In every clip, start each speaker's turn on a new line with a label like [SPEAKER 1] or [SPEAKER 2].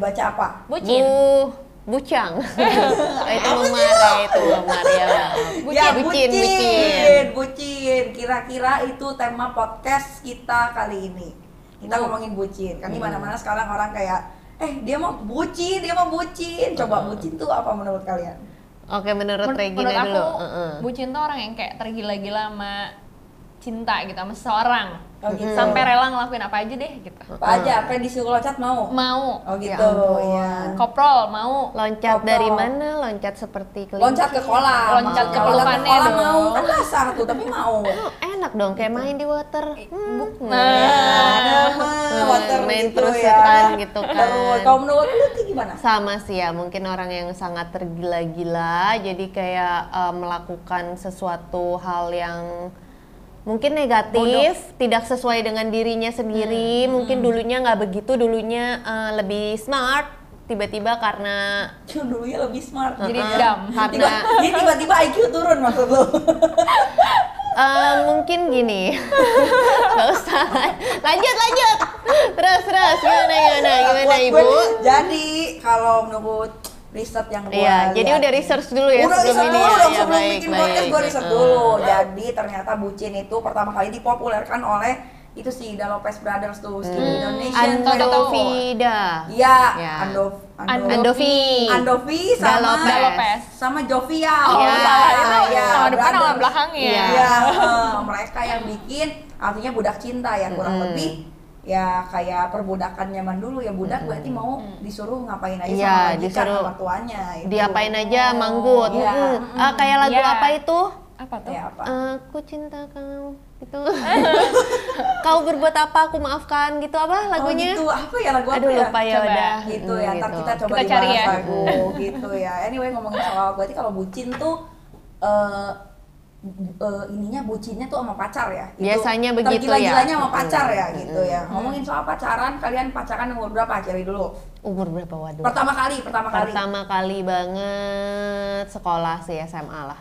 [SPEAKER 1] baca apa?
[SPEAKER 2] Bucin.
[SPEAKER 3] Bu Bucang. Oh, itu memara itu memara ya. maaf.
[SPEAKER 1] ya,
[SPEAKER 3] bucin, bucin.
[SPEAKER 1] bucin, bucin. Kira-kira itu tema podcast kita kali ini. Kita ngomongin bucin. Kan di mana-mana sekarang orang kayak eh dia mau bucin, dia mau bucin. Coba bucin tuh apa menurut kalian?
[SPEAKER 3] Oke, menurut
[SPEAKER 2] Men-
[SPEAKER 3] Regina
[SPEAKER 2] menurut
[SPEAKER 3] dulu.
[SPEAKER 2] aku
[SPEAKER 3] Heeh.
[SPEAKER 2] bucin tuh orang yang kayak tergila-gila sama cinta gitu sama seseorang
[SPEAKER 1] Oh, gitu.
[SPEAKER 2] sampai rela ngelakuin apa aja deh gitu
[SPEAKER 1] Apa aja? Apa yang disuruh loncat mau?
[SPEAKER 2] mau
[SPEAKER 1] Oh gitu,
[SPEAKER 3] Ya ampun.
[SPEAKER 1] ya.
[SPEAKER 2] koprol mau
[SPEAKER 3] Loncat dari
[SPEAKER 1] Koprol.
[SPEAKER 3] mana? Loncat seperti kelinci.
[SPEAKER 1] Loncat ke kolam.
[SPEAKER 2] Loncat ke
[SPEAKER 1] Kalau
[SPEAKER 2] pelukannya
[SPEAKER 1] kolam
[SPEAKER 2] dong.
[SPEAKER 1] mau. Kan kasar tuh, tapi mau.
[SPEAKER 3] Oh, enak dong kayak main di water. Hmm.
[SPEAKER 1] Nah,
[SPEAKER 3] Hmm,
[SPEAKER 1] water
[SPEAKER 3] main
[SPEAKER 1] gitu
[SPEAKER 3] terusetan
[SPEAKER 1] ya.
[SPEAKER 3] gitu kan.
[SPEAKER 1] Terus, kalau menurut lu Ti, gimana?
[SPEAKER 3] sama sih ya mungkin orang yang sangat tergila-gila jadi kayak eh, melakukan sesuatu hal yang mungkin negatif tidak sesuai dengan dirinya
[SPEAKER 1] Hmm.
[SPEAKER 3] sendiri mungkin dulunya nggak begitu dulunya eh, lebih smart tiba-tiba karena
[SPEAKER 1] Cuh, dulunya lebih smart.
[SPEAKER 2] jadi
[SPEAKER 3] eh,
[SPEAKER 2] dendam
[SPEAKER 1] Tiba,
[SPEAKER 3] karena
[SPEAKER 1] dia tiba-tiba IQ turun maksud lu.
[SPEAKER 3] Eh, mungkin gini nggak usah lanjut lanjut terus terus gimana gimana gimana
[SPEAKER 1] Buat
[SPEAKER 3] ibu
[SPEAKER 1] gue, Jadi kalau menurut riset yang gue
[SPEAKER 3] Iya, jadi
[SPEAKER 1] lihat
[SPEAKER 3] udah
[SPEAKER 1] nih.
[SPEAKER 3] research dulu ya
[SPEAKER 1] udah riset
[SPEAKER 3] sebelum ini
[SPEAKER 1] dulu
[SPEAKER 3] ya.
[SPEAKER 1] dong
[SPEAKER 3] Ya,
[SPEAKER 1] sebelum
[SPEAKER 3] baik,
[SPEAKER 1] bikin
[SPEAKER 3] baik.
[SPEAKER 1] podcast gue riset
[SPEAKER 3] Heeh.
[SPEAKER 1] dulu jadi ternyata bucin itu pertama kali dipopulerkan oleh itu si The Lopez Brothers tuh si
[SPEAKER 3] Hmm.
[SPEAKER 1] Indonesian
[SPEAKER 2] Anto-
[SPEAKER 1] Idol.
[SPEAKER 3] Andovida
[SPEAKER 1] iya
[SPEAKER 3] Ya.
[SPEAKER 1] Andov Andov-
[SPEAKER 3] Andovi
[SPEAKER 1] Andovi
[SPEAKER 3] The
[SPEAKER 1] sama
[SPEAKER 3] Lopez.
[SPEAKER 2] Lopez.
[SPEAKER 1] sama Jovia
[SPEAKER 3] Oh,
[SPEAKER 1] Iya,
[SPEAKER 3] salah. Itu
[SPEAKER 1] iya,
[SPEAKER 2] sama depan sama
[SPEAKER 1] brothers.
[SPEAKER 2] belakangnya
[SPEAKER 3] Iya.
[SPEAKER 1] Iya, eh, mereka yang bikin artinya budak cinta ya kurang lebih ya kayak perbudakan zaman dulu ya budak berarti mau disuruh ngapain aja
[SPEAKER 3] Iya,
[SPEAKER 1] sama majikan
[SPEAKER 3] disuruh
[SPEAKER 1] sama tuannya itu.
[SPEAKER 3] diapain aja manggut
[SPEAKER 1] Iya.
[SPEAKER 3] Mm-mm. Ah, kayak lagu
[SPEAKER 2] Iya.
[SPEAKER 3] apa itu
[SPEAKER 2] apa tuh
[SPEAKER 1] ya apa
[SPEAKER 3] Eh, aku cinta kamu gitu kau berbuat apa aku maafkan gitu apa lagunya
[SPEAKER 1] oh, gitu. apa ya lagu apa
[SPEAKER 3] aduh
[SPEAKER 1] ya
[SPEAKER 3] lupa ya
[SPEAKER 2] Coba.
[SPEAKER 3] udah
[SPEAKER 1] gitu
[SPEAKER 3] Mm,
[SPEAKER 1] ya ntar kita coba
[SPEAKER 2] Kita cari
[SPEAKER 1] dibahas
[SPEAKER 2] ya.
[SPEAKER 1] lagu gitu ya anyway ngomongin soal berarti kalau bucin tuh eh eh, ininya bucinnya tuh sama pacar ya Itu
[SPEAKER 3] Biasanya begitu ya. mm,
[SPEAKER 1] tergila-gilanya sama pacar ya
[SPEAKER 3] Mm-mm.
[SPEAKER 1] gitu ya ngomongin soal pacaran kalian pacaran umur berapa cari dulu
[SPEAKER 3] umur berapa waduh
[SPEAKER 1] pertama kali pertama kali
[SPEAKER 3] pertama kali banget sekolah sih SMA lah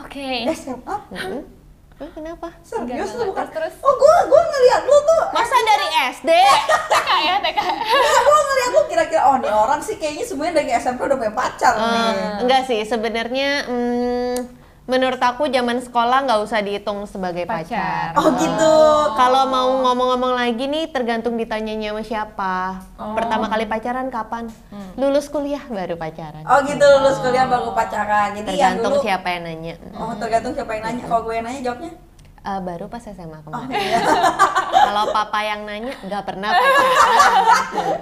[SPEAKER 2] oke
[SPEAKER 1] Eh, SMA
[SPEAKER 3] Mm-mm. Eh, kenapa
[SPEAKER 1] serius
[SPEAKER 2] Enggak,
[SPEAKER 1] tuh bukan
[SPEAKER 2] enggak. Terus, terus.
[SPEAKER 1] oh gua gua ngeliat lu tuh
[SPEAKER 3] masa dari SD
[SPEAKER 2] TK ya TK
[SPEAKER 1] Enggak, gua ngeliat lu kira-kira oh nih orang sih kayaknya semuanya dari SMP udah punya pacar nih
[SPEAKER 3] Eh, enggak sih sebenarnya mm, menurut aku zaman sekolah nggak usah dihitung sebagai pacar.
[SPEAKER 2] Pacar.
[SPEAKER 1] oh gitu
[SPEAKER 3] Kalau mau ngomong-ngomong lagi nih tergantung ditanyanya sama siapa.
[SPEAKER 1] Oh.
[SPEAKER 3] Pertama kali pacaran kapan? Lulus kuliah baru pacaran.
[SPEAKER 1] Hmm. oh gitu lulus kuliah baru pacaran jadi yang
[SPEAKER 3] tergantung
[SPEAKER 1] dulu
[SPEAKER 3] siapa yang nanya. Mm.
[SPEAKER 1] Oh, tergantung siapa yang nanya. Kalau gue yang nanya jawabnya,
[SPEAKER 3] Eh, baru pas SMA
[SPEAKER 1] oh
[SPEAKER 3] kemarin.
[SPEAKER 1] iya.
[SPEAKER 3] Kalau papa yang nanya nggak pernah pacaran.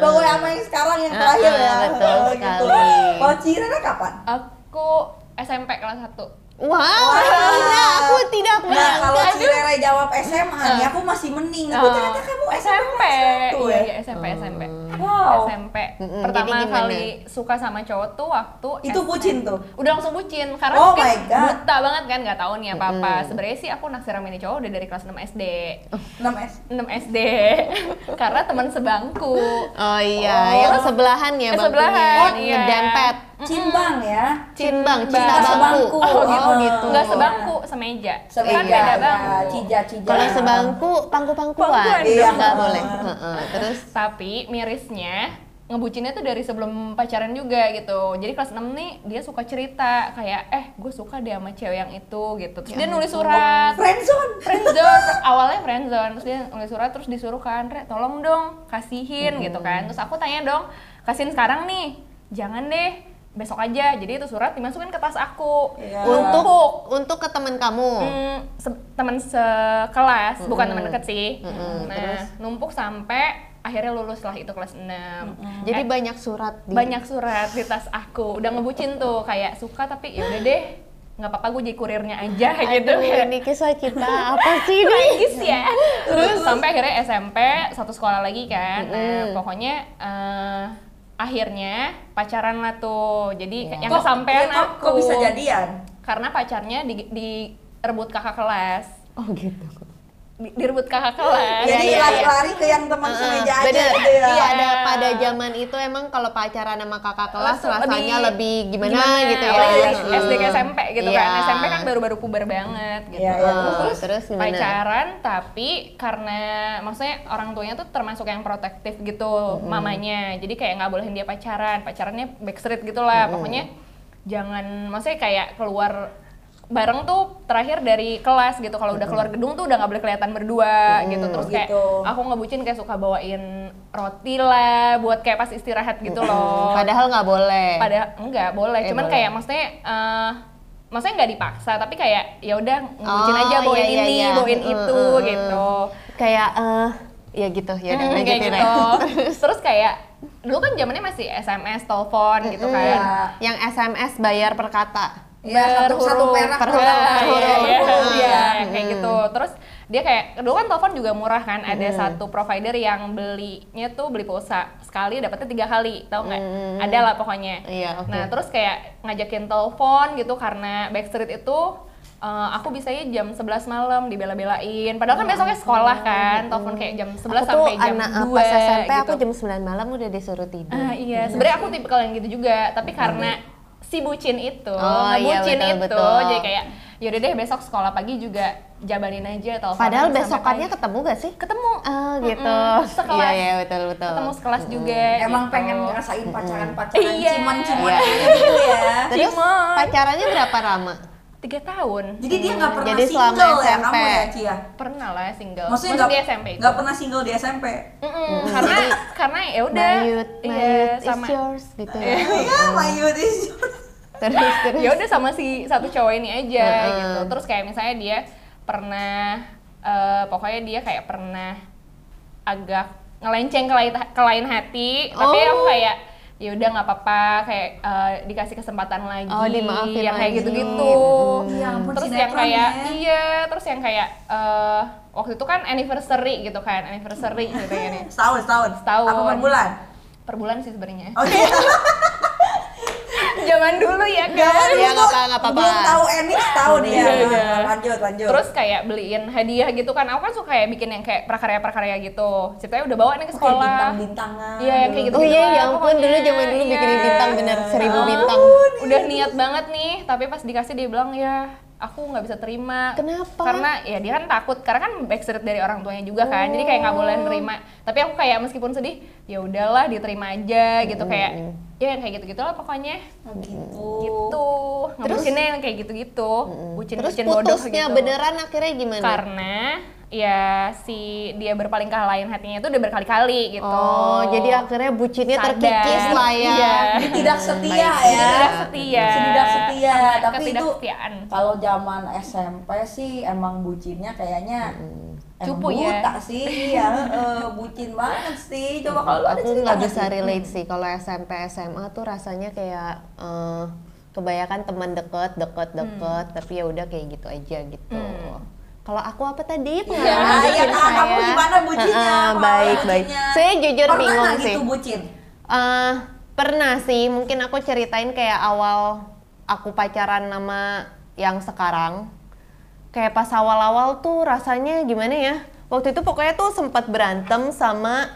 [SPEAKER 1] Kalau gue sama yang sekarang yang
[SPEAKER 3] Ah,
[SPEAKER 1] terakhir ya.
[SPEAKER 3] betul
[SPEAKER 1] Oh,
[SPEAKER 3] sekali.
[SPEAKER 1] Kalau Cirena kapan?
[SPEAKER 2] aku SMP kelas 1
[SPEAKER 3] Wow, Alhamdulillah, aku tidak
[SPEAKER 1] Nah,
[SPEAKER 3] menyangka.
[SPEAKER 1] kalau Cirena jawab SMA,
[SPEAKER 3] Ah.
[SPEAKER 1] nih aku masih mending. Aku
[SPEAKER 2] Eh,
[SPEAKER 1] ternyata kamu SMP. satu
[SPEAKER 2] iya
[SPEAKER 1] ya? Oh.
[SPEAKER 2] iya, SMP SMP
[SPEAKER 1] Wow.
[SPEAKER 2] SMP
[SPEAKER 3] Mm-mm,
[SPEAKER 2] pertama
[SPEAKER 3] jadi gimana?
[SPEAKER 2] kali suka sama cowok tuh waktu
[SPEAKER 1] Itu
[SPEAKER 2] SMP.
[SPEAKER 1] bucin tuh?
[SPEAKER 2] udah langsung bucin karena
[SPEAKER 1] Oh
[SPEAKER 2] mungkin
[SPEAKER 1] my God.
[SPEAKER 2] buta banget kan nggak tahu nih apa apa
[SPEAKER 3] Mm-mm.
[SPEAKER 2] sebenarnya sih aku naksir sama ini cowok udah dari kelas 6 SD
[SPEAKER 1] 6 S.
[SPEAKER 2] 6 SD karena teman sebangku
[SPEAKER 3] Oh iya,
[SPEAKER 1] Oh.
[SPEAKER 3] yang sebelahan ya
[SPEAKER 2] Eh,
[SPEAKER 3] bangkunya.
[SPEAKER 2] sebelahan,
[SPEAKER 3] Oh,
[SPEAKER 2] iya.
[SPEAKER 3] ngedempet.
[SPEAKER 1] Cimbang
[SPEAKER 3] Iya,
[SPEAKER 1] ya.
[SPEAKER 3] Cinbang, cinta
[SPEAKER 2] Cinta
[SPEAKER 3] bangku.
[SPEAKER 1] sebangku.
[SPEAKER 3] Oh,
[SPEAKER 1] Oh,
[SPEAKER 3] gitu.
[SPEAKER 2] nggak sebangku semeja kan
[SPEAKER 1] Sebeja,
[SPEAKER 2] beda
[SPEAKER 1] ya.
[SPEAKER 2] bangku
[SPEAKER 1] Cija-cija.
[SPEAKER 3] Kalau sebangku pangku-pangkuan,
[SPEAKER 2] Pangkuan.
[SPEAKER 3] iya
[SPEAKER 1] Iya.
[SPEAKER 3] nggak boleh. Heeh, Terus
[SPEAKER 2] tapi mirisnya ngebucinnya tuh dari sebelum pacaran juga gitu jadi kelas 6 nih dia suka cerita kayak eh gue suka deh sama cewek yang itu gitu terus
[SPEAKER 1] Ya
[SPEAKER 2] dia nulis surat
[SPEAKER 1] Friendzone.
[SPEAKER 2] friendzone awalnya friendzone terus dia nulis surat terus disuruh kan "Re, tolong dong kasihin gitu
[SPEAKER 3] Hmm.
[SPEAKER 2] kan terus aku tanya dong kasihin sekarang nih jangan deh besok aja jadi itu surat dimasukin ke tas aku
[SPEAKER 1] Iya.
[SPEAKER 3] untuk
[SPEAKER 2] Numpuk.
[SPEAKER 3] untuk ke teman kamu.
[SPEAKER 2] Hmm, se- teman sekelas,
[SPEAKER 3] Hmm.
[SPEAKER 2] bukan teman dekat sih. Nah, numpuk sampai akhirnya lulus lah itu kelas 6.
[SPEAKER 3] Hmm. Jadi banyak surat di
[SPEAKER 2] Eh, Banyak surat di tas aku. Udah ngebucin tuh kayak suka tapi ya udah deh. nggak apa-apa gue jadi kurirnya aja gitu.
[SPEAKER 3] Aduh,
[SPEAKER 2] Kayak,
[SPEAKER 3] ini kisah cinta apa sih ini?
[SPEAKER 2] Tragis ya. Terus sampai akhirnya SMP satu sekolah lagi kan. Nah, pokoknya eh, akhirnya pacaran lah tuh. Jadi yang
[SPEAKER 1] Kok-
[SPEAKER 2] kesampean
[SPEAKER 1] ya, kok,
[SPEAKER 2] aku.
[SPEAKER 1] kok bisa jadian?
[SPEAKER 2] Karena pacarnya di, direbut kakak kelas.
[SPEAKER 3] Oh gitu.
[SPEAKER 2] di- direbut kakak kelas.
[SPEAKER 1] Jadi
[SPEAKER 3] iya,
[SPEAKER 1] lari-lari ke yang teman
[SPEAKER 3] Heeh,
[SPEAKER 1] semeja aja
[SPEAKER 3] Eh, Ah, bener.
[SPEAKER 1] gitu ya.
[SPEAKER 3] Iya, ada
[SPEAKER 2] Iya.
[SPEAKER 3] pada zaman itu emang kalau pacaran sama kakak kelas
[SPEAKER 2] Langsung
[SPEAKER 3] rasanya lebih, gimana, gitu ya.
[SPEAKER 2] apalagi dari
[SPEAKER 3] Heeh.
[SPEAKER 2] Iya, SD ke SMP gitu
[SPEAKER 3] Iya.
[SPEAKER 2] kan. SMP kan baru-baru puber banget gitu.
[SPEAKER 1] Iya, iya,
[SPEAKER 3] Heeh, terus, gimana?
[SPEAKER 2] pacaran tapi karena maksudnya orang tuanya tuh termasuk yang protektif gitu
[SPEAKER 3] Mm-hmm.
[SPEAKER 2] mamanya. Jadi kayak nggak bolehin dia pacaran. Pacarannya backstreet gitu lah.
[SPEAKER 3] Mm-hmm.
[SPEAKER 2] Pokoknya jangan maksudnya kayak keluar bareng tuh terakhir dari kelas gitu kalau udah
[SPEAKER 3] Mm-hmm.
[SPEAKER 2] keluar gedung tuh udah nggak boleh kelihatan berdua gitu terus kayak
[SPEAKER 1] Gitu.
[SPEAKER 2] aku ngebucin kayak suka bawain roti lah buat kayak pas istirahat gitu
[SPEAKER 3] Mm-hmm.
[SPEAKER 2] loh
[SPEAKER 3] Padahal nggak boleh.
[SPEAKER 2] pada enggak boleh
[SPEAKER 3] Eh,
[SPEAKER 2] cuman
[SPEAKER 3] boleh.
[SPEAKER 2] kayak maksudnya eh maksudnya nggak dipaksa tapi kayak ya udah ngucin
[SPEAKER 3] Oh,
[SPEAKER 2] aja bawain
[SPEAKER 3] iya, iya,
[SPEAKER 2] ini
[SPEAKER 3] iya.
[SPEAKER 2] bawain
[SPEAKER 3] Mm,
[SPEAKER 2] itu
[SPEAKER 3] mm, mm.
[SPEAKER 2] gitu
[SPEAKER 3] Kayak eh ya gitu ya udah
[SPEAKER 2] Hmm,
[SPEAKER 3] lanjutin
[SPEAKER 2] kayak
[SPEAKER 3] aja.
[SPEAKER 2] gitu terus kayak dulu kan zamannya masih sms telepon gitu kan
[SPEAKER 1] Iya.
[SPEAKER 3] Yang SMS bayar per kata.
[SPEAKER 1] Iya, satu satu
[SPEAKER 2] Berhuruf,
[SPEAKER 1] perak
[SPEAKER 3] per
[SPEAKER 1] tuh.
[SPEAKER 3] huruf,
[SPEAKER 2] Ah,
[SPEAKER 1] Iya,
[SPEAKER 3] per
[SPEAKER 2] iya,
[SPEAKER 3] huruf.
[SPEAKER 2] iya,
[SPEAKER 1] berhuruf,
[SPEAKER 2] iya,
[SPEAKER 1] iya.
[SPEAKER 2] kayak gitu terus dia kayak dulu kan telepon juga murah kan ada satu provider yang belinya tuh beli pulsa sekali dapetnya tiga kali tau nggak ada lah pokoknya
[SPEAKER 3] Iya, oke.
[SPEAKER 2] nah terus kayak ngajakin telepon gitu karena backstreet itu eh, aku bisanya jam 11 malam dibela-belain padahal kan besoknya sekolah kan telepon kayak jam 11
[SPEAKER 3] Hmm. Aku tuh
[SPEAKER 2] sampai jam
[SPEAKER 3] anak eh,
[SPEAKER 2] 2
[SPEAKER 3] pas SMP
[SPEAKER 2] gitu.
[SPEAKER 3] aku jam 9 malam udah disuruh tidur.
[SPEAKER 2] Ah iya, sebenarnya aku tipikal yang gitu juga, tapi karena si bucin itu,
[SPEAKER 3] Oh,
[SPEAKER 2] nah,
[SPEAKER 3] iya,
[SPEAKER 2] bucin
[SPEAKER 3] betul,
[SPEAKER 2] itu,
[SPEAKER 3] betul.
[SPEAKER 2] jadi kayak yaudah deh besok sekolah pagi juga jabanin aja telepon.
[SPEAKER 3] Padahal
[SPEAKER 2] sampai
[SPEAKER 3] besokannya
[SPEAKER 2] pagi.
[SPEAKER 3] ketemu gak sih?
[SPEAKER 2] ketemu,
[SPEAKER 3] Oh gitu.
[SPEAKER 2] Mm-mm, sekelas.
[SPEAKER 3] Iya iya betul betul.
[SPEAKER 2] ketemu sekelas juga.
[SPEAKER 1] Emang
[SPEAKER 2] gitu.
[SPEAKER 1] pengen ngerasain pacaran-pacaran
[SPEAKER 2] Iya.
[SPEAKER 1] ciman-ciman
[SPEAKER 3] Iya.
[SPEAKER 1] gitu ya.
[SPEAKER 3] Terus
[SPEAKER 2] Cimon.
[SPEAKER 3] pacarannya berapa lama?
[SPEAKER 2] tiga tahun.
[SPEAKER 1] Jadi dia nggak pernah
[SPEAKER 3] Jadi selama
[SPEAKER 1] single ya
[SPEAKER 3] SMP.
[SPEAKER 1] kamu ya, Cia?
[SPEAKER 2] pernah lah single.
[SPEAKER 1] Maksudnya
[SPEAKER 2] Maksudnya
[SPEAKER 1] nggak
[SPEAKER 2] di SMP itu.
[SPEAKER 1] nggak pernah single di SMP.
[SPEAKER 2] Mm-mm, Karena karena ya udah,
[SPEAKER 3] my youth, my
[SPEAKER 2] iya,
[SPEAKER 3] youth
[SPEAKER 2] sama.
[SPEAKER 3] is yours gitu.
[SPEAKER 1] Iya, my youth is
[SPEAKER 3] terus terus.
[SPEAKER 2] ya udah sama si satu cowok ini aja
[SPEAKER 3] Heeh.
[SPEAKER 2] gitu terus kayak misalnya dia pernah eh, pokoknya dia kayak pernah agak ngelenceng ke lain, ke lain hati tapi
[SPEAKER 3] Oh.
[SPEAKER 2] aku kayak ya udah nggak apa-apa kayak eh, dikasih kesempatan lagi
[SPEAKER 3] Oh, dimaafin
[SPEAKER 2] yang kayak
[SPEAKER 3] lagi.
[SPEAKER 2] gitu-gitu
[SPEAKER 1] Hmm. Ya ampun,
[SPEAKER 2] Gitu. terus yang
[SPEAKER 1] sinetron
[SPEAKER 2] kayak
[SPEAKER 1] ya.
[SPEAKER 2] iya terus yang kayak eh, waktu itu kan anniversary gitu kan anniversary gitu gini
[SPEAKER 1] setahun setahun.
[SPEAKER 2] Setahun.
[SPEAKER 1] Apa per bulan?
[SPEAKER 2] per bulan sih sebenarnya
[SPEAKER 1] Oke.
[SPEAKER 2] zaman dulu ya kan
[SPEAKER 3] Iya, nggak apa- nggak apa-apa.
[SPEAKER 1] Belum tahu ini setahun ya.
[SPEAKER 2] Iya, iya.
[SPEAKER 1] Lanjut lanjut.
[SPEAKER 2] Terus kayak beliin hadiah gitu kan. Aku kan suka kayak bikin yang kayak prakarya-prakarya gitu. Ceritanya udah bawa nih ke
[SPEAKER 1] Oke,
[SPEAKER 2] sekolah.
[SPEAKER 1] bintang-bintangan.
[SPEAKER 2] Iya, yang kayak gitu.
[SPEAKER 3] Oh iya, ya ampun
[SPEAKER 2] pokoknya.
[SPEAKER 3] dulu zaman dulu bikinin
[SPEAKER 2] Iya.
[SPEAKER 3] bintang bener seribu
[SPEAKER 2] Ah.
[SPEAKER 3] bintang.
[SPEAKER 2] Udah niat banget nih, tapi pas dikasih dia bilang ya aku nggak bisa terima.
[SPEAKER 3] Kenapa?
[SPEAKER 2] Karena ya dia kan takut, karena kan backstreet dari orang tuanya juga kan, jadi kayak nggak
[SPEAKER 3] Oh.
[SPEAKER 2] boleh nerima. Tapi aku kayak meskipun sedih, ya udahlah diterima aja gitu kayak ya yang kayak gitu-gitu lah pokoknya
[SPEAKER 1] Oh, gitu.
[SPEAKER 2] gitu ngebucinnya yang kayak gitu-gitu
[SPEAKER 3] Terus
[SPEAKER 2] bucin-bucin bodoh
[SPEAKER 3] putusnya
[SPEAKER 2] gitu
[SPEAKER 3] beneran akhirnya gimana?
[SPEAKER 2] karena ya si dia berpaling ke lain hatinya itu udah berkali-kali gitu.
[SPEAKER 3] Oh, jadi akhirnya bucinnya
[SPEAKER 2] Sadar.
[SPEAKER 3] terkikis lah ya.
[SPEAKER 2] Iya.
[SPEAKER 1] Tidak setia
[SPEAKER 3] Baik.
[SPEAKER 1] ya.
[SPEAKER 2] Tidak setia.
[SPEAKER 1] Tidak setia,
[SPEAKER 2] Karena
[SPEAKER 1] tapi itu
[SPEAKER 2] ketidaksetiaan.
[SPEAKER 1] Kalau zaman SMP sih emang bucinnya kayaknya emang
[SPEAKER 2] Cupu ya?
[SPEAKER 1] buta sih, iya, heeh, bucin banget sih. Coba kalau lu ada
[SPEAKER 3] aku
[SPEAKER 1] cerita
[SPEAKER 3] nggak
[SPEAKER 1] nggak
[SPEAKER 3] bisa
[SPEAKER 1] sih?
[SPEAKER 3] relate sih kalau SMP SMA tuh rasanya kayak eh, kebanyakan teman deket deket
[SPEAKER 1] Mm.
[SPEAKER 3] deket tapi ya udah kayak gitu aja gitu kalau aku apa
[SPEAKER 1] Iya,
[SPEAKER 3] tadi pengalaman
[SPEAKER 1] iya,
[SPEAKER 3] bucin
[SPEAKER 1] Kak, kamu
[SPEAKER 3] saya?
[SPEAKER 1] gimana bucinnya?
[SPEAKER 3] Heeh,
[SPEAKER 1] Pengalaman
[SPEAKER 3] baik baik
[SPEAKER 1] bucinnya.
[SPEAKER 3] saya jujur
[SPEAKER 1] Pernah
[SPEAKER 3] bingung
[SPEAKER 1] nggak
[SPEAKER 3] sih
[SPEAKER 1] gitu bucin?
[SPEAKER 3] Eh, pernah sih mungkin aku ceritain kayak awal aku pacaran sama yang sekarang kayak pas awal-awal tuh rasanya gimana ya waktu itu pokoknya tuh sempat berantem sama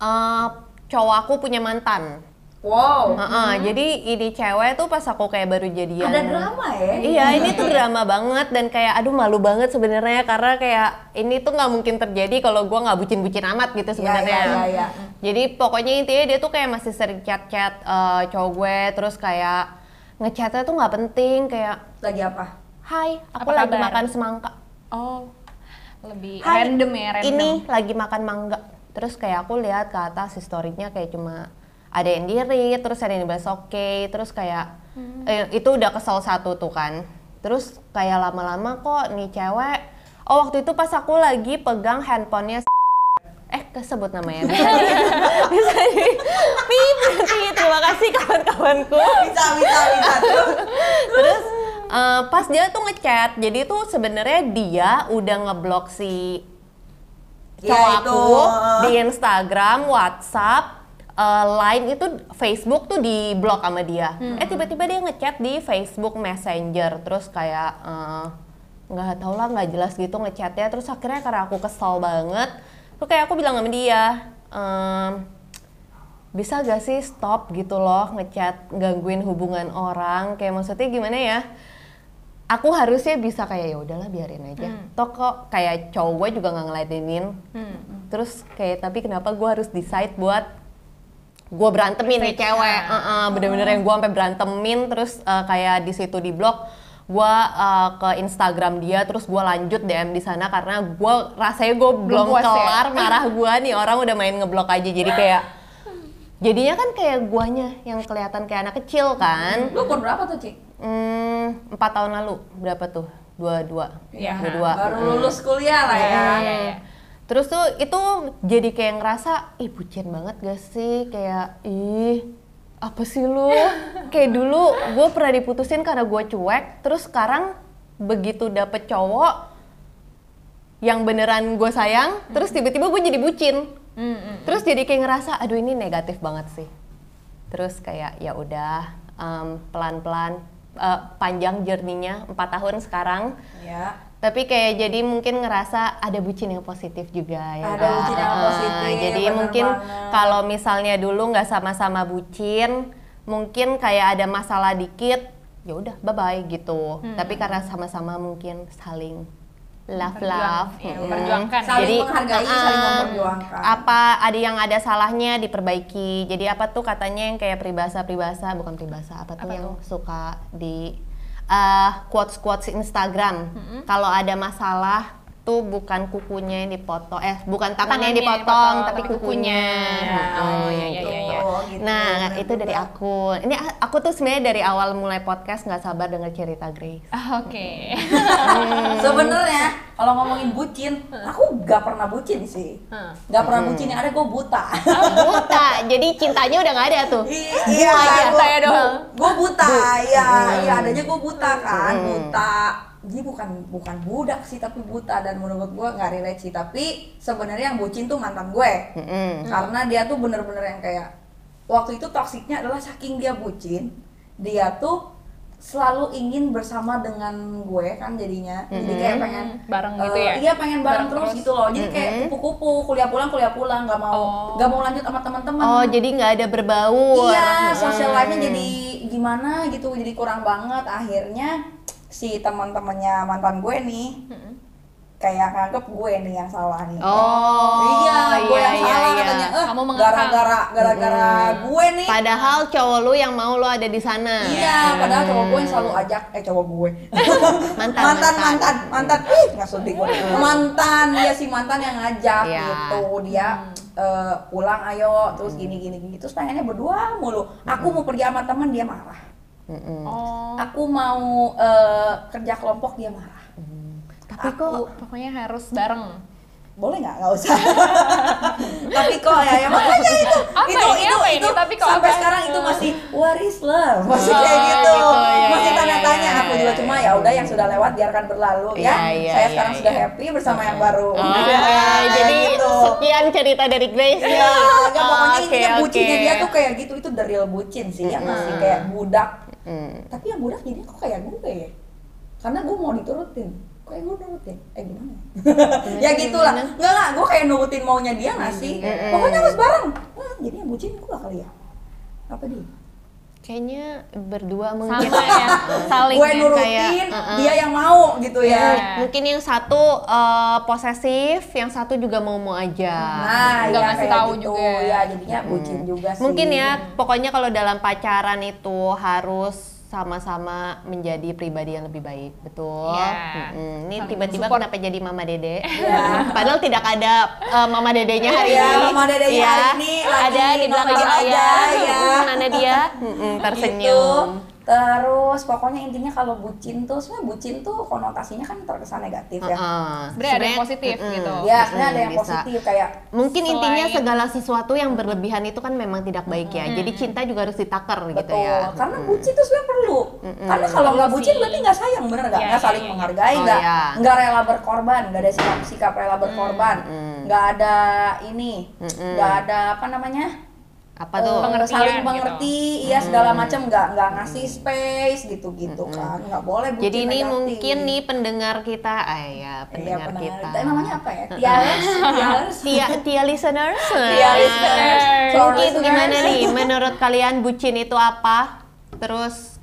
[SPEAKER 3] eh, cowok aku punya mantan
[SPEAKER 1] Wow,
[SPEAKER 3] Heeh, jadi ini cewek tuh pas aku kayak baru
[SPEAKER 1] Hmm.
[SPEAKER 3] jadian
[SPEAKER 1] ada drama ya?
[SPEAKER 3] Iya, ini tuh drama banget dan kayak aduh malu banget sebenarnya karena kayak ini tuh nggak mungkin terjadi kalau gua nggak bucin-bucin amat gitu sebenarnya.
[SPEAKER 1] iya, iya.
[SPEAKER 3] Jadi pokoknya intinya dia tuh kayak masih sering chat-chat eh, cowok gue terus kayak ngechatnya tuh nggak penting kayak
[SPEAKER 1] Lagi apa?
[SPEAKER 3] Hai, aku
[SPEAKER 2] Apa
[SPEAKER 3] lagi
[SPEAKER 2] kabar?"
[SPEAKER 3] makan semangka.
[SPEAKER 2] Oh. Lebih
[SPEAKER 3] Hai,
[SPEAKER 2] random ya, random.
[SPEAKER 3] Ini lagi makan mangga. Terus kayak aku lihat ke atas historinya kayak cuma ada yang diri, terus ada yang bahas oke, terus kayak
[SPEAKER 2] Hmm.
[SPEAKER 3] eh, itu udah kesel satu tuh kan. Terus kayak lama-lama kok nih cewek. Oh waktu itu pas aku lagi pegang handphonenya s- eh kesebut namanya bisa di- bisa di- Pip, nanti terima kasih kawan-kawanku
[SPEAKER 1] Bisa, bisa, bisa. Terus,
[SPEAKER 3] terus eh, pas dia tuh ngechat jadi tuh sebenarnya dia udah ngeblok si
[SPEAKER 1] Ya,
[SPEAKER 3] cowok
[SPEAKER 1] itu.
[SPEAKER 3] aku di Instagram, WhatsApp, eh, Line itu Facebook tuh di blok
[SPEAKER 1] Hmm.
[SPEAKER 3] sama dia. Eh tiba-tiba dia ngechat di Facebook Messenger terus kayak eh, nggak tau lah nggak jelas gitu ngechatnya terus akhirnya karena aku kesal banget terus kayak aku bilang sama dia ehm, bisa gak sih stop gitu loh ngechat gangguin hubungan orang kayak maksudnya gimana ya aku harusnya bisa kayak ya udahlah biarin aja toh kok kayak cowok gue juga nggak ngeladenin terus kayak tapi kenapa gue harus decide buat gue berantemin nih
[SPEAKER 2] Fake,
[SPEAKER 3] cewek
[SPEAKER 2] ya.
[SPEAKER 3] Heeh, bener-bener yang gue sampai berantemin terus eh, kayak di situ di blog gue eh, ke Instagram dia terus gue lanjut DM di sana karena gue rasanya gue belum
[SPEAKER 2] puas ya?
[SPEAKER 3] kelar marah gue nih orang udah main ngeblok aja jadi kayak jadinya kan kayak guanya yang kelihatan kayak anak kecil kan
[SPEAKER 1] Lu umur berapa tuh, Ci?
[SPEAKER 3] hmm, empat tahun lalu berapa tuh dua dua
[SPEAKER 2] Iya,
[SPEAKER 3] dua dua Mm.
[SPEAKER 1] Baru lulus kuliah lah ya.
[SPEAKER 2] Iya, iya.
[SPEAKER 3] Terus tuh itu jadi kayak ngerasa, ih bucin banget gak sih? Kayak, ih apa sih lu? kayak dulu gue pernah diputusin karena gue cuek, terus sekarang begitu dapet cowok yang beneran gue sayang, terus tiba-tiba gue jadi bucin.
[SPEAKER 2] Hmm, hmm.
[SPEAKER 3] Terus jadi kayak ngerasa, aduh ini negatif banget sih. Terus kayak ya udah em, pelan-pelan eh, panjang jerninya 4 tahun sekarang.
[SPEAKER 1] Ya.
[SPEAKER 3] Tapi kayak jadi mungkin ngerasa ada bucin yang positif juga ya.
[SPEAKER 1] Ada
[SPEAKER 3] Kak.
[SPEAKER 1] bucin yang
[SPEAKER 3] Eh,
[SPEAKER 1] positif,
[SPEAKER 3] Jadi
[SPEAKER 1] bener
[SPEAKER 3] mungkin
[SPEAKER 1] banget.
[SPEAKER 3] kalau misalnya dulu nggak sama-sama bucin, mungkin kayak ada masalah dikit, ya udah bye bye gitu. Tapi karena sama-sama mungkin saling love love,
[SPEAKER 2] Iya,
[SPEAKER 3] mm-mm.
[SPEAKER 2] memperjuangkan.
[SPEAKER 1] Saling
[SPEAKER 3] Jadi,
[SPEAKER 1] menghargai, saling
[SPEAKER 3] uh-uh.
[SPEAKER 1] memperjuangkan.
[SPEAKER 3] apa ada yang ada salahnya diperbaiki. Jadi apa tuh katanya yang kayak peribahasa-peribahasa bukan peribahasa apa tuh
[SPEAKER 2] Apa
[SPEAKER 3] yang
[SPEAKER 2] tuh?
[SPEAKER 3] suka di eh, quotes-quotes Instagram. Kalau ada masalah tuh bukan kukunya yang dipotong eh bukan tangannya yang
[SPEAKER 2] Tangannya yang
[SPEAKER 3] dipotong,
[SPEAKER 2] dipotong,
[SPEAKER 3] tapi
[SPEAKER 2] tapi
[SPEAKER 3] kukunya.
[SPEAKER 2] kukunya.
[SPEAKER 3] Mm,
[SPEAKER 2] Oh, iya, iya,
[SPEAKER 3] gitu.
[SPEAKER 2] iya, iya.
[SPEAKER 1] Oh, gitu.
[SPEAKER 3] Nah,
[SPEAKER 1] Bener
[SPEAKER 3] itu dari
[SPEAKER 1] juga.
[SPEAKER 3] aku. Ini a- aku tuh sebenarnya dari awal mulai podcast nggak sabar denger cerita Grace.
[SPEAKER 2] Ah, Oke.
[SPEAKER 1] Sebenarnya kalau ngomongin bucin, aku gak pernah bucin sih.
[SPEAKER 2] Hmm.
[SPEAKER 1] Gak pernah bucin, yang ada gue buta.
[SPEAKER 3] Buta, jadi cintanya udah nggak ada tuh.
[SPEAKER 1] I- iya,
[SPEAKER 2] aja,
[SPEAKER 1] gua-
[SPEAKER 2] saya doang.
[SPEAKER 1] Gua buta, iya, iya adanya gua buta kan, buta. Jadi bukan bukan budak sih tapi buta dan menurut gua nggak relate sih. Tapi sebenarnya yang bucin tuh mantan gue.
[SPEAKER 3] Mm-mm.
[SPEAKER 1] Karena dia tuh bener-bener yang kayak waktu itu toksiknya adalah saking dia bucin, dia tuh selalu ingin bersama dengan gue kan jadinya. Jadi kayak pengen
[SPEAKER 2] Bareng gitu
[SPEAKER 1] eh,
[SPEAKER 2] ya?
[SPEAKER 1] Iya, pengen bareng,
[SPEAKER 2] Bareng
[SPEAKER 1] terus,
[SPEAKER 2] terus.
[SPEAKER 1] gitu loh. Jadi kayak
[SPEAKER 3] Mm-mm.
[SPEAKER 1] kupu-kupu, kuliah pulang, kuliah pulang, nggak mau
[SPEAKER 2] Oh.
[SPEAKER 1] nggak mau lanjut sama teman-teman.
[SPEAKER 3] Oh, jadi nggak ada berbaur.
[SPEAKER 1] Iya, social
[SPEAKER 3] Hmm.
[SPEAKER 1] life-nya jadi gimana gitu, jadi kurang banget. Akhirnya si teman-temannya mantan gue nih kayak nganggep gue nih yang salah nih.
[SPEAKER 3] Oh,
[SPEAKER 1] iya, gue yang
[SPEAKER 3] iya,
[SPEAKER 1] salah
[SPEAKER 3] iya.
[SPEAKER 1] katanya. Eh,
[SPEAKER 2] Kamu mengangkat.
[SPEAKER 1] gara-gara gara-gara gue nih.
[SPEAKER 3] Padahal cowok lu yang mau lu ada di sana.
[SPEAKER 1] Iya, padahal cowok gue yang selalu ajak eh cowok gue.
[SPEAKER 3] Mantan,
[SPEAKER 1] mantan,
[SPEAKER 3] mantan.
[SPEAKER 1] mantan, mantan. Ih, nggak suntik gue. Mantan, dia si mantan yang ngajak
[SPEAKER 3] Iya. Hmm.
[SPEAKER 1] gitu. Dia eh, pulang ayo terus gini gini gini terus pengennya berdua mulu. Aku mau
[SPEAKER 3] Hmm.
[SPEAKER 1] pergi sama teman dia marah.
[SPEAKER 3] Mm-mm.
[SPEAKER 2] Oh.
[SPEAKER 1] Aku mau eh, kerja kelompok dia marah.
[SPEAKER 3] Hmm. Tapi kok
[SPEAKER 1] Aku-
[SPEAKER 2] Pokoknya harus bareng.
[SPEAKER 1] boleh nggak nggak usah tapi kok ya ya makanya itu
[SPEAKER 2] Apa
[SPEAKER 3] ya?
[SPEAKER 1] itu
[SPEAKER 2] ini,
[SPEAKER 1] itu,
[SPEAKER 2] apa ini?
[SPEAKER 1] itu
[SPEAKER 2] Tapi kok
[SPEAKER 1] sampai
[SPEAKER 2] apa?
[SPEAKER 1] sekarang itu masih what is love masih kayak
[SPEAKER 3] Hmm. Oh,
[SPEAKER 1] gitu,
[SPEAKER 3] gitu, ya,
[SPEAKER 1] masih
[SPEAKER 3] ya,
[SPEAKER 1] tanda
[SPEAKER 3] ya,
[SPEAKER 1] tanya
[SPEAKER 3] ya,
[SPEAKER 1] aku
[SPEAKER 3] ya,
[SPEAKER 1] juga
[SPEAKER 3] ya,
[SPEAKER 1] cuma
[SPEAKER 3] ya.
[SPEAKER 1] ya udah yang sudah lewat biarkan berlalu ya,
[SPEAKER 3] Ya, ya,
[SPEAKER 1] saya
[SPEAKER 3] ya,
[SPEAKER 1] sekarang
[SPEAKER 3] ya.
[SPEAKER 1] sudah happy bersama yang baru
[SPEAKER 3] Oh,
[SPEAKER 1] Ya,
[SPEAKER 3] ya, jadi
[SPEAKER 1] gitu.
[SPEAKER 3] sekian cerita dari Grace.
[SPEAKER 1] Iya, nggak, pokoknya
[SPEAKER 3] Oke,
[SPEAKER 1] intinya bucinnya
[SPEAKER 3] oke. Hmm.
[SPEAKER 1] dia tuh kayak gitu itu the real bucin sih yang masih kayak budak
[SPEAKER 3] Mm.
[SPEAKER 1] tapi yang budak jadinya kok kayak gue ya karena gue mau diturutin kayak gue nurutin eh gimana ya gitulah enggak lah gue kayak nurutin maunya dia nggak
[SPEAKER 2] Hmm,
[SPEAKER 1] sih pokoknya harus bareng Wah, jadi yang bucin gue kali ya apa dia
[SPEAKER 3] Kayaknya berdua
[SPEAKER 2] Sama
[SPEAKER 3] mungkin.
[SPEAKER 2] ya. Saling
[SPEAKER 1] gue
[SPEAKER 2] ya,
[SPEAKER 1] nurutin
[SPEAKER 3] kayak, uh-uh.
[SPEAKER 1] dia yang mau gitu ya
[SPEAKER 2] Iya.
[SPEAKER 3] Mungkin yang satu eh, posesif, yang satu juga mau-mau aja.
[SPEAKER 1] nah
[SPEAKER 2] Nggak
[SPEAKER 1] ya,
[SPEAKER 2] ngasih
[SPEAKER 1] kayak
[SPEAKER 2] tahu juga. Hmm.
[SPEAKER 1] ya jadinya bucin juga sih
[SPEAKER 3] Mungkin ya, pokoknya kalau dalam pacaran itu harus sama-sama menjadi pribadi yang lebih baik, betul?
[SPEAKER 2] Iya.
[SPEAKER 3] Mm-mm. Ini
[SPEAKER 2] Saling
[SPEAKER 3] tiba-tiba
[SPEAKER 2] mensupport.
[SPEAKER 3] kenapa jadi Mama Dede?
[SPEAKER 1] Iya.
[SPEAKER 3] Padahal tidak ada eh, Mama Dedenya hari
[SPEAKER 1] Iya,
[SPEAKER 3] ini.
[SPEAKER 1] Mama Dedenya
[SPEAKER 3] Iya.
[SPEAKER 1] hari ini lagi Gitu.
[SPEAKER 3] ada di belakang
[SPEAKER 1] nonton
[SPEAKER 3] saya.
[SPEAKER 1] aja, ya.
[SPEAKER 3] Mm, Mana dia? Mm-mm, tersenyum.
[SPEAKER 1] Gitu. Terus pokoknya intinya kalau bucin tuh sebenarnya bucin tuh konotasinya kan terkesan negatif ya.
[SPEAKER 2] Uh-uh.
[SPEAKER 3] Heeh.
[SPEAKER 2] Sebenarnya ada yang positif
[SPEAKER 3] mm-mm.
[SPEAKER 2] gitu.
[SPEAKER 1] Ya, sebenarnya ada yang
[SPEAKER 3] bisa.
[SPEAKER 1] positif kayak
[SPEAKER 3] Mungkin
[SPEAKER 2] Selain-
[SPEAKER 3] intinya segala sesuatu yang berlebihan itu kan memang tidak baik ya. Jadi cinta juga harus ditakar gitu
[SPEAKER 1] betul.
[SPEAKER 3] ya.
[SPEAKER 1] Karena bucin tuh sebenarnya perlu. Karena kalau nggak
[SPEAKER 2] Perlu
[SPEAKER 1] bucin
[SPEAKER 2] Iya sih.
[SPEAKER 1] berarti nggak sayang bener nggak?
[SPEAKER 2] Iya,
[SPEAKER 1] Nggak
[SPEAKER 2] iya,
[SPEAKER 1] saling
[SPEAKER 2] iya.
[SPEAKER 1] menghargai,
[SPEAKER 3] Oh,
[SPEAKER 1] nggak
[SPEAKER 3] iya.
[SPEAKER 1] nggak rela berkorban, nggak ada sikap sikap rela berkorban, nggak ada ini, nggak ada apa namanya?
[SPEAKER 3] apa
[SPEAKER 1] eh,
[SPEAKER 3] tuh
[SPEAKER 2] Pengertian
[SPEAKER 1] saling
[SPEAKER 2] gitu.
[SPEAKER 1] mengerti, iya segala macam nggak nggak ngasih space gitu-gitu kan, nggak boleh bucin
[SPEAKER 3] jadi ini
[SPEAKER 1] negatif.
[SPEAKER 3] mungkin nih pendengar kita ah ya
[SPEAKER 1] Iya,
[SPEAKER 3] pendengar kita
[SPEAKER 1] Eh, namanya apa ya? Tiales, Tiales,
[SPEAKER 3] Tia Tia listeners
[SPEAKER 1] Tiales, Tiales. Sorry,
[SPEAKER 3] mungkin
[SPEAKER 1] listeners.
[SPEAKER 3] gimana nih menurut kalian bucin itu apa terus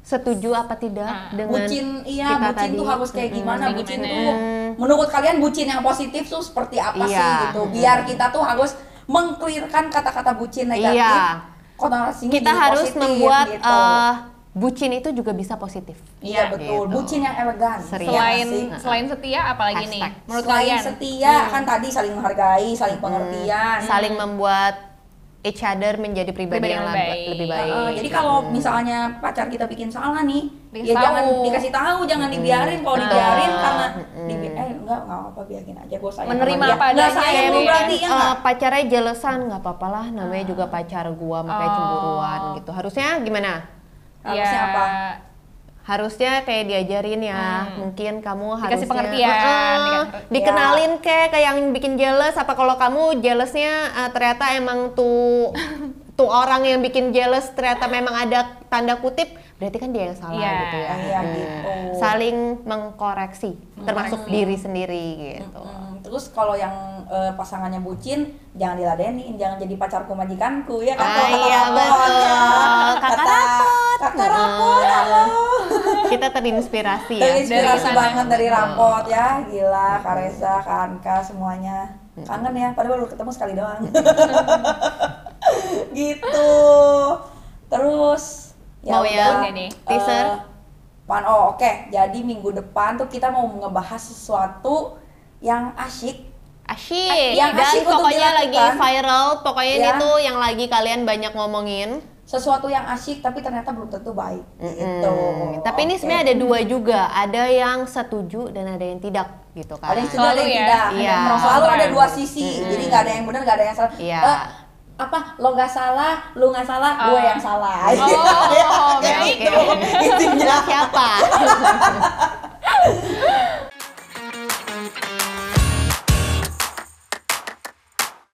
[SPEAKER 3] setuju apa tidak
[SPEAKER 2] Nah,
[SPEAKER 3] dengan
[SPEAKER 1] bucin iya
[SPEAKER 3] kita
[SPEAKER 1] bucin
[SPEAKER 3] tadi? gitu.
[SPEAKER 1] tuh harus kayak gimana
[SPEAKER 2] kayak
[SPEAKER 1] bucin
[SPEAKER 2] gimana.
[SPEAKER 1] tuh menurut kalian bucin yang positif tuh seperti apa sih
[SPEAKER 3] Iya.
[SPEAKER 1] gitu biar kita tuh harus mengklirkan kata-kata bucin negatif
[SPEAKER 3] Iya.
[SPEAKER 1] konotasinya
[SPEAKER 3] kita
[SPEAKER 1] jadi
[SPEAKER 3] harus
[SPEAKER 1] positif,
[SPEAKER 3] membuat
[SPEAKER 1] gitu.
[SPEAKER 3] eh, bucin itu juga bisa positif
[SPEAKER 1] iya betul
[SPEAKER 3] gitu.
[SPEAKER 1] bucin yang elegan Iya
[SPEAKER 3] Serius.
[SPEAKER 1] nggak
[SPEAKER 2] Selain
[SPEAKER 1] sih?
[SPEAKER 2] selain setia apalagi nih
[SPEAKER 3] Hashtag.
[SPEAKER 2] menurut
[SPEAKER 1] Selain
[SPEAKER 2] kalian?
[SPEAKER 1] setia kan tadi saling menghargai saling pengertian
[SPEAKER 3] Mm. saling membuat each other menjadi pribadi,
[SPEAKER 2] Pribadi
[SPEAKER 3] yang
[SPEAKER 2] yang
[SPEAKER 3] laba-
[SPEAKER 2] baik.
[SPEAKER 3] lebih
[SPEAKER 1] Nah,
[SPEAKER 3] baik. gitu.
[SPEAKER 1] eh, jadi kalau misalnya pacar kita bikin salah nih,
[SPEAKER 2] Dikasih
[SPEAKER 1] ya jangan
[SPEAKER 2] tahu.
[SPEAKER 1] dikasih tahu, jangan dibiarin. Kalau
[SPEAKER 2] Nah.
[SPEAKER 1] dibiarin karena dibi- eh enggak enggak apa biarin aja gue sayang. sama
[SPEAKER 2] Menerima
[SPEAKER 1] dia.
[SPEAKER 2] apa
[SPEAKER 1] Nggak
[SPEAKER 2] adanya
[SPEAKER 1] sayang
[SPEAKER 2] gitu
[SPEAKER 1] gue
[SPEAKER 2] ya.
[SPEAKER 1] berarti ya
[SPEAKER 3] Eh,
[SPEAKER 1] nggak? Ah.
[SPEAKER 3] pacarnya jelesan nggak apa-apa lah namanya juga pacar gua makanya
[SPEAKER 2] Oh.
[SPEAKER 3] cemburuan gitu harusnya gimana Iya,
[SPEAKER 1] Harusnya apa?
[SPEAKER 3] harusnya kayak diajarin
[SPEAKER 1] Hmm.
[SPEAKER 3] ya mungkin kamu harusnya
[SPEAKER 2] Dikasih pengertian,
[SPEAKER 3] Heeh,
[SPEAKER 2] dikasih-
[SPEAKER 3] dikenalin kayak kayak yang bikin jealous apa kalau kamu jealousnya eh, ternyata emang tuh tuh orang yang bikin jealous ternyata memang ada tanda kutip berarti kan dia yang salah
[SPEAKER 2] Iya.
[SPEAKER 3] gitu ya
[SPEAKER 1] Iya
[SPEAKER 3] Hmm.
[SPEAKER 1] gitu.
[SPEAKER 3] saling mengkoreksi termasuk diri sendiri gitu
[SPEAKER 1] Mm, terus kalau yang eh, pasangannya bucin, jangan diladenin, jangan jadi pacarku majikanku ya kan?
[SPEAKER 3] Ah,
[SPEAKER 1] Kalau kata
[SPEAKER 3] iya,
[SPEAKER 1] rapot,
[SPEAKER 3] betul.
[SPEAKER 1] kan?
[SPEAKER 3] Kakak
[SPEAKER 1] Kata- Kakak rapot, halo.
[SPEAKER 3] kita terinspirasi ya
[SPEAKER 1] Terinspirasi
[SPEAKER 2] Dari sana.
[SPEAKER 1] banget dari rapot ya, gila, Karesa, Kanka semuanya.
[SPEAKER 3] Iya.
[SPEAKER 1] Kangen ya, padahal baru ketemu sekali doang. gitu. Terus
[SPEAKER 3] Mau ya,
[SPEAKER 1] udah,
[SPEAKER 2] ini,
[SPEAKER 1] eh,
[SPEAKER 3] teaser?
[SPEAKER 1] Pan, oh oke. Jadi minggu depan tuh kita mau ngebahas sesuatu yang asyik
[SPEAKER 3] asyik
[SPEAKER 1] Yang
[SPEAKER 3] dan
[SPEAKER 1] asyik untuk
[SPEAKER 3] pokoknya lagi
[SPEAKER 1] dilakukan.
[SPEAKER 3] viral pokoknya
[SPEAKER 1] Ya.
[SPEAKER 3] itu yang lagi kalian banyak ngomongin
[SPEAKER 1] sesuatu yang asyik tapi ternyata belum tentu baik gitu.
[SPEAKER 3] Mm, Tapi
[SPEAKER 1] Oke.
[SPEAKER 3] ini sebenarnya ada dua juga, ada yang setuju dan ada yang tidak gitu
[SPEAKER 1] ada
[SPEAKER 3] kan.
[SPEAKER 1] yang sudah ada
[SPEAKER 2] Selalu
[SPEAKER 1] yang
[SPEAKER 2] ya.
[SPEAKER 1] tidak.
[SPEAKER 3] Iya.
[SPEAKER 1] Selalu ada dua sisi. Jadi nggak ada yang benar, nggak ada yang salah.
[SPEAKER 3] Iya.
[SPEAKER 1] Eh, apa lo nggak salah, lu nggak salah, gue
[SPEAKER 2] Oh.
[SPEAKER 1] yang salah.
[SPEAKER 2] Oh,
[SPEAKER 1] Ya,
[SPEAKER 2] oke.
[SPEAKER 1] kayak gitu. Intinya.
[SPEAKER 3] Siapa?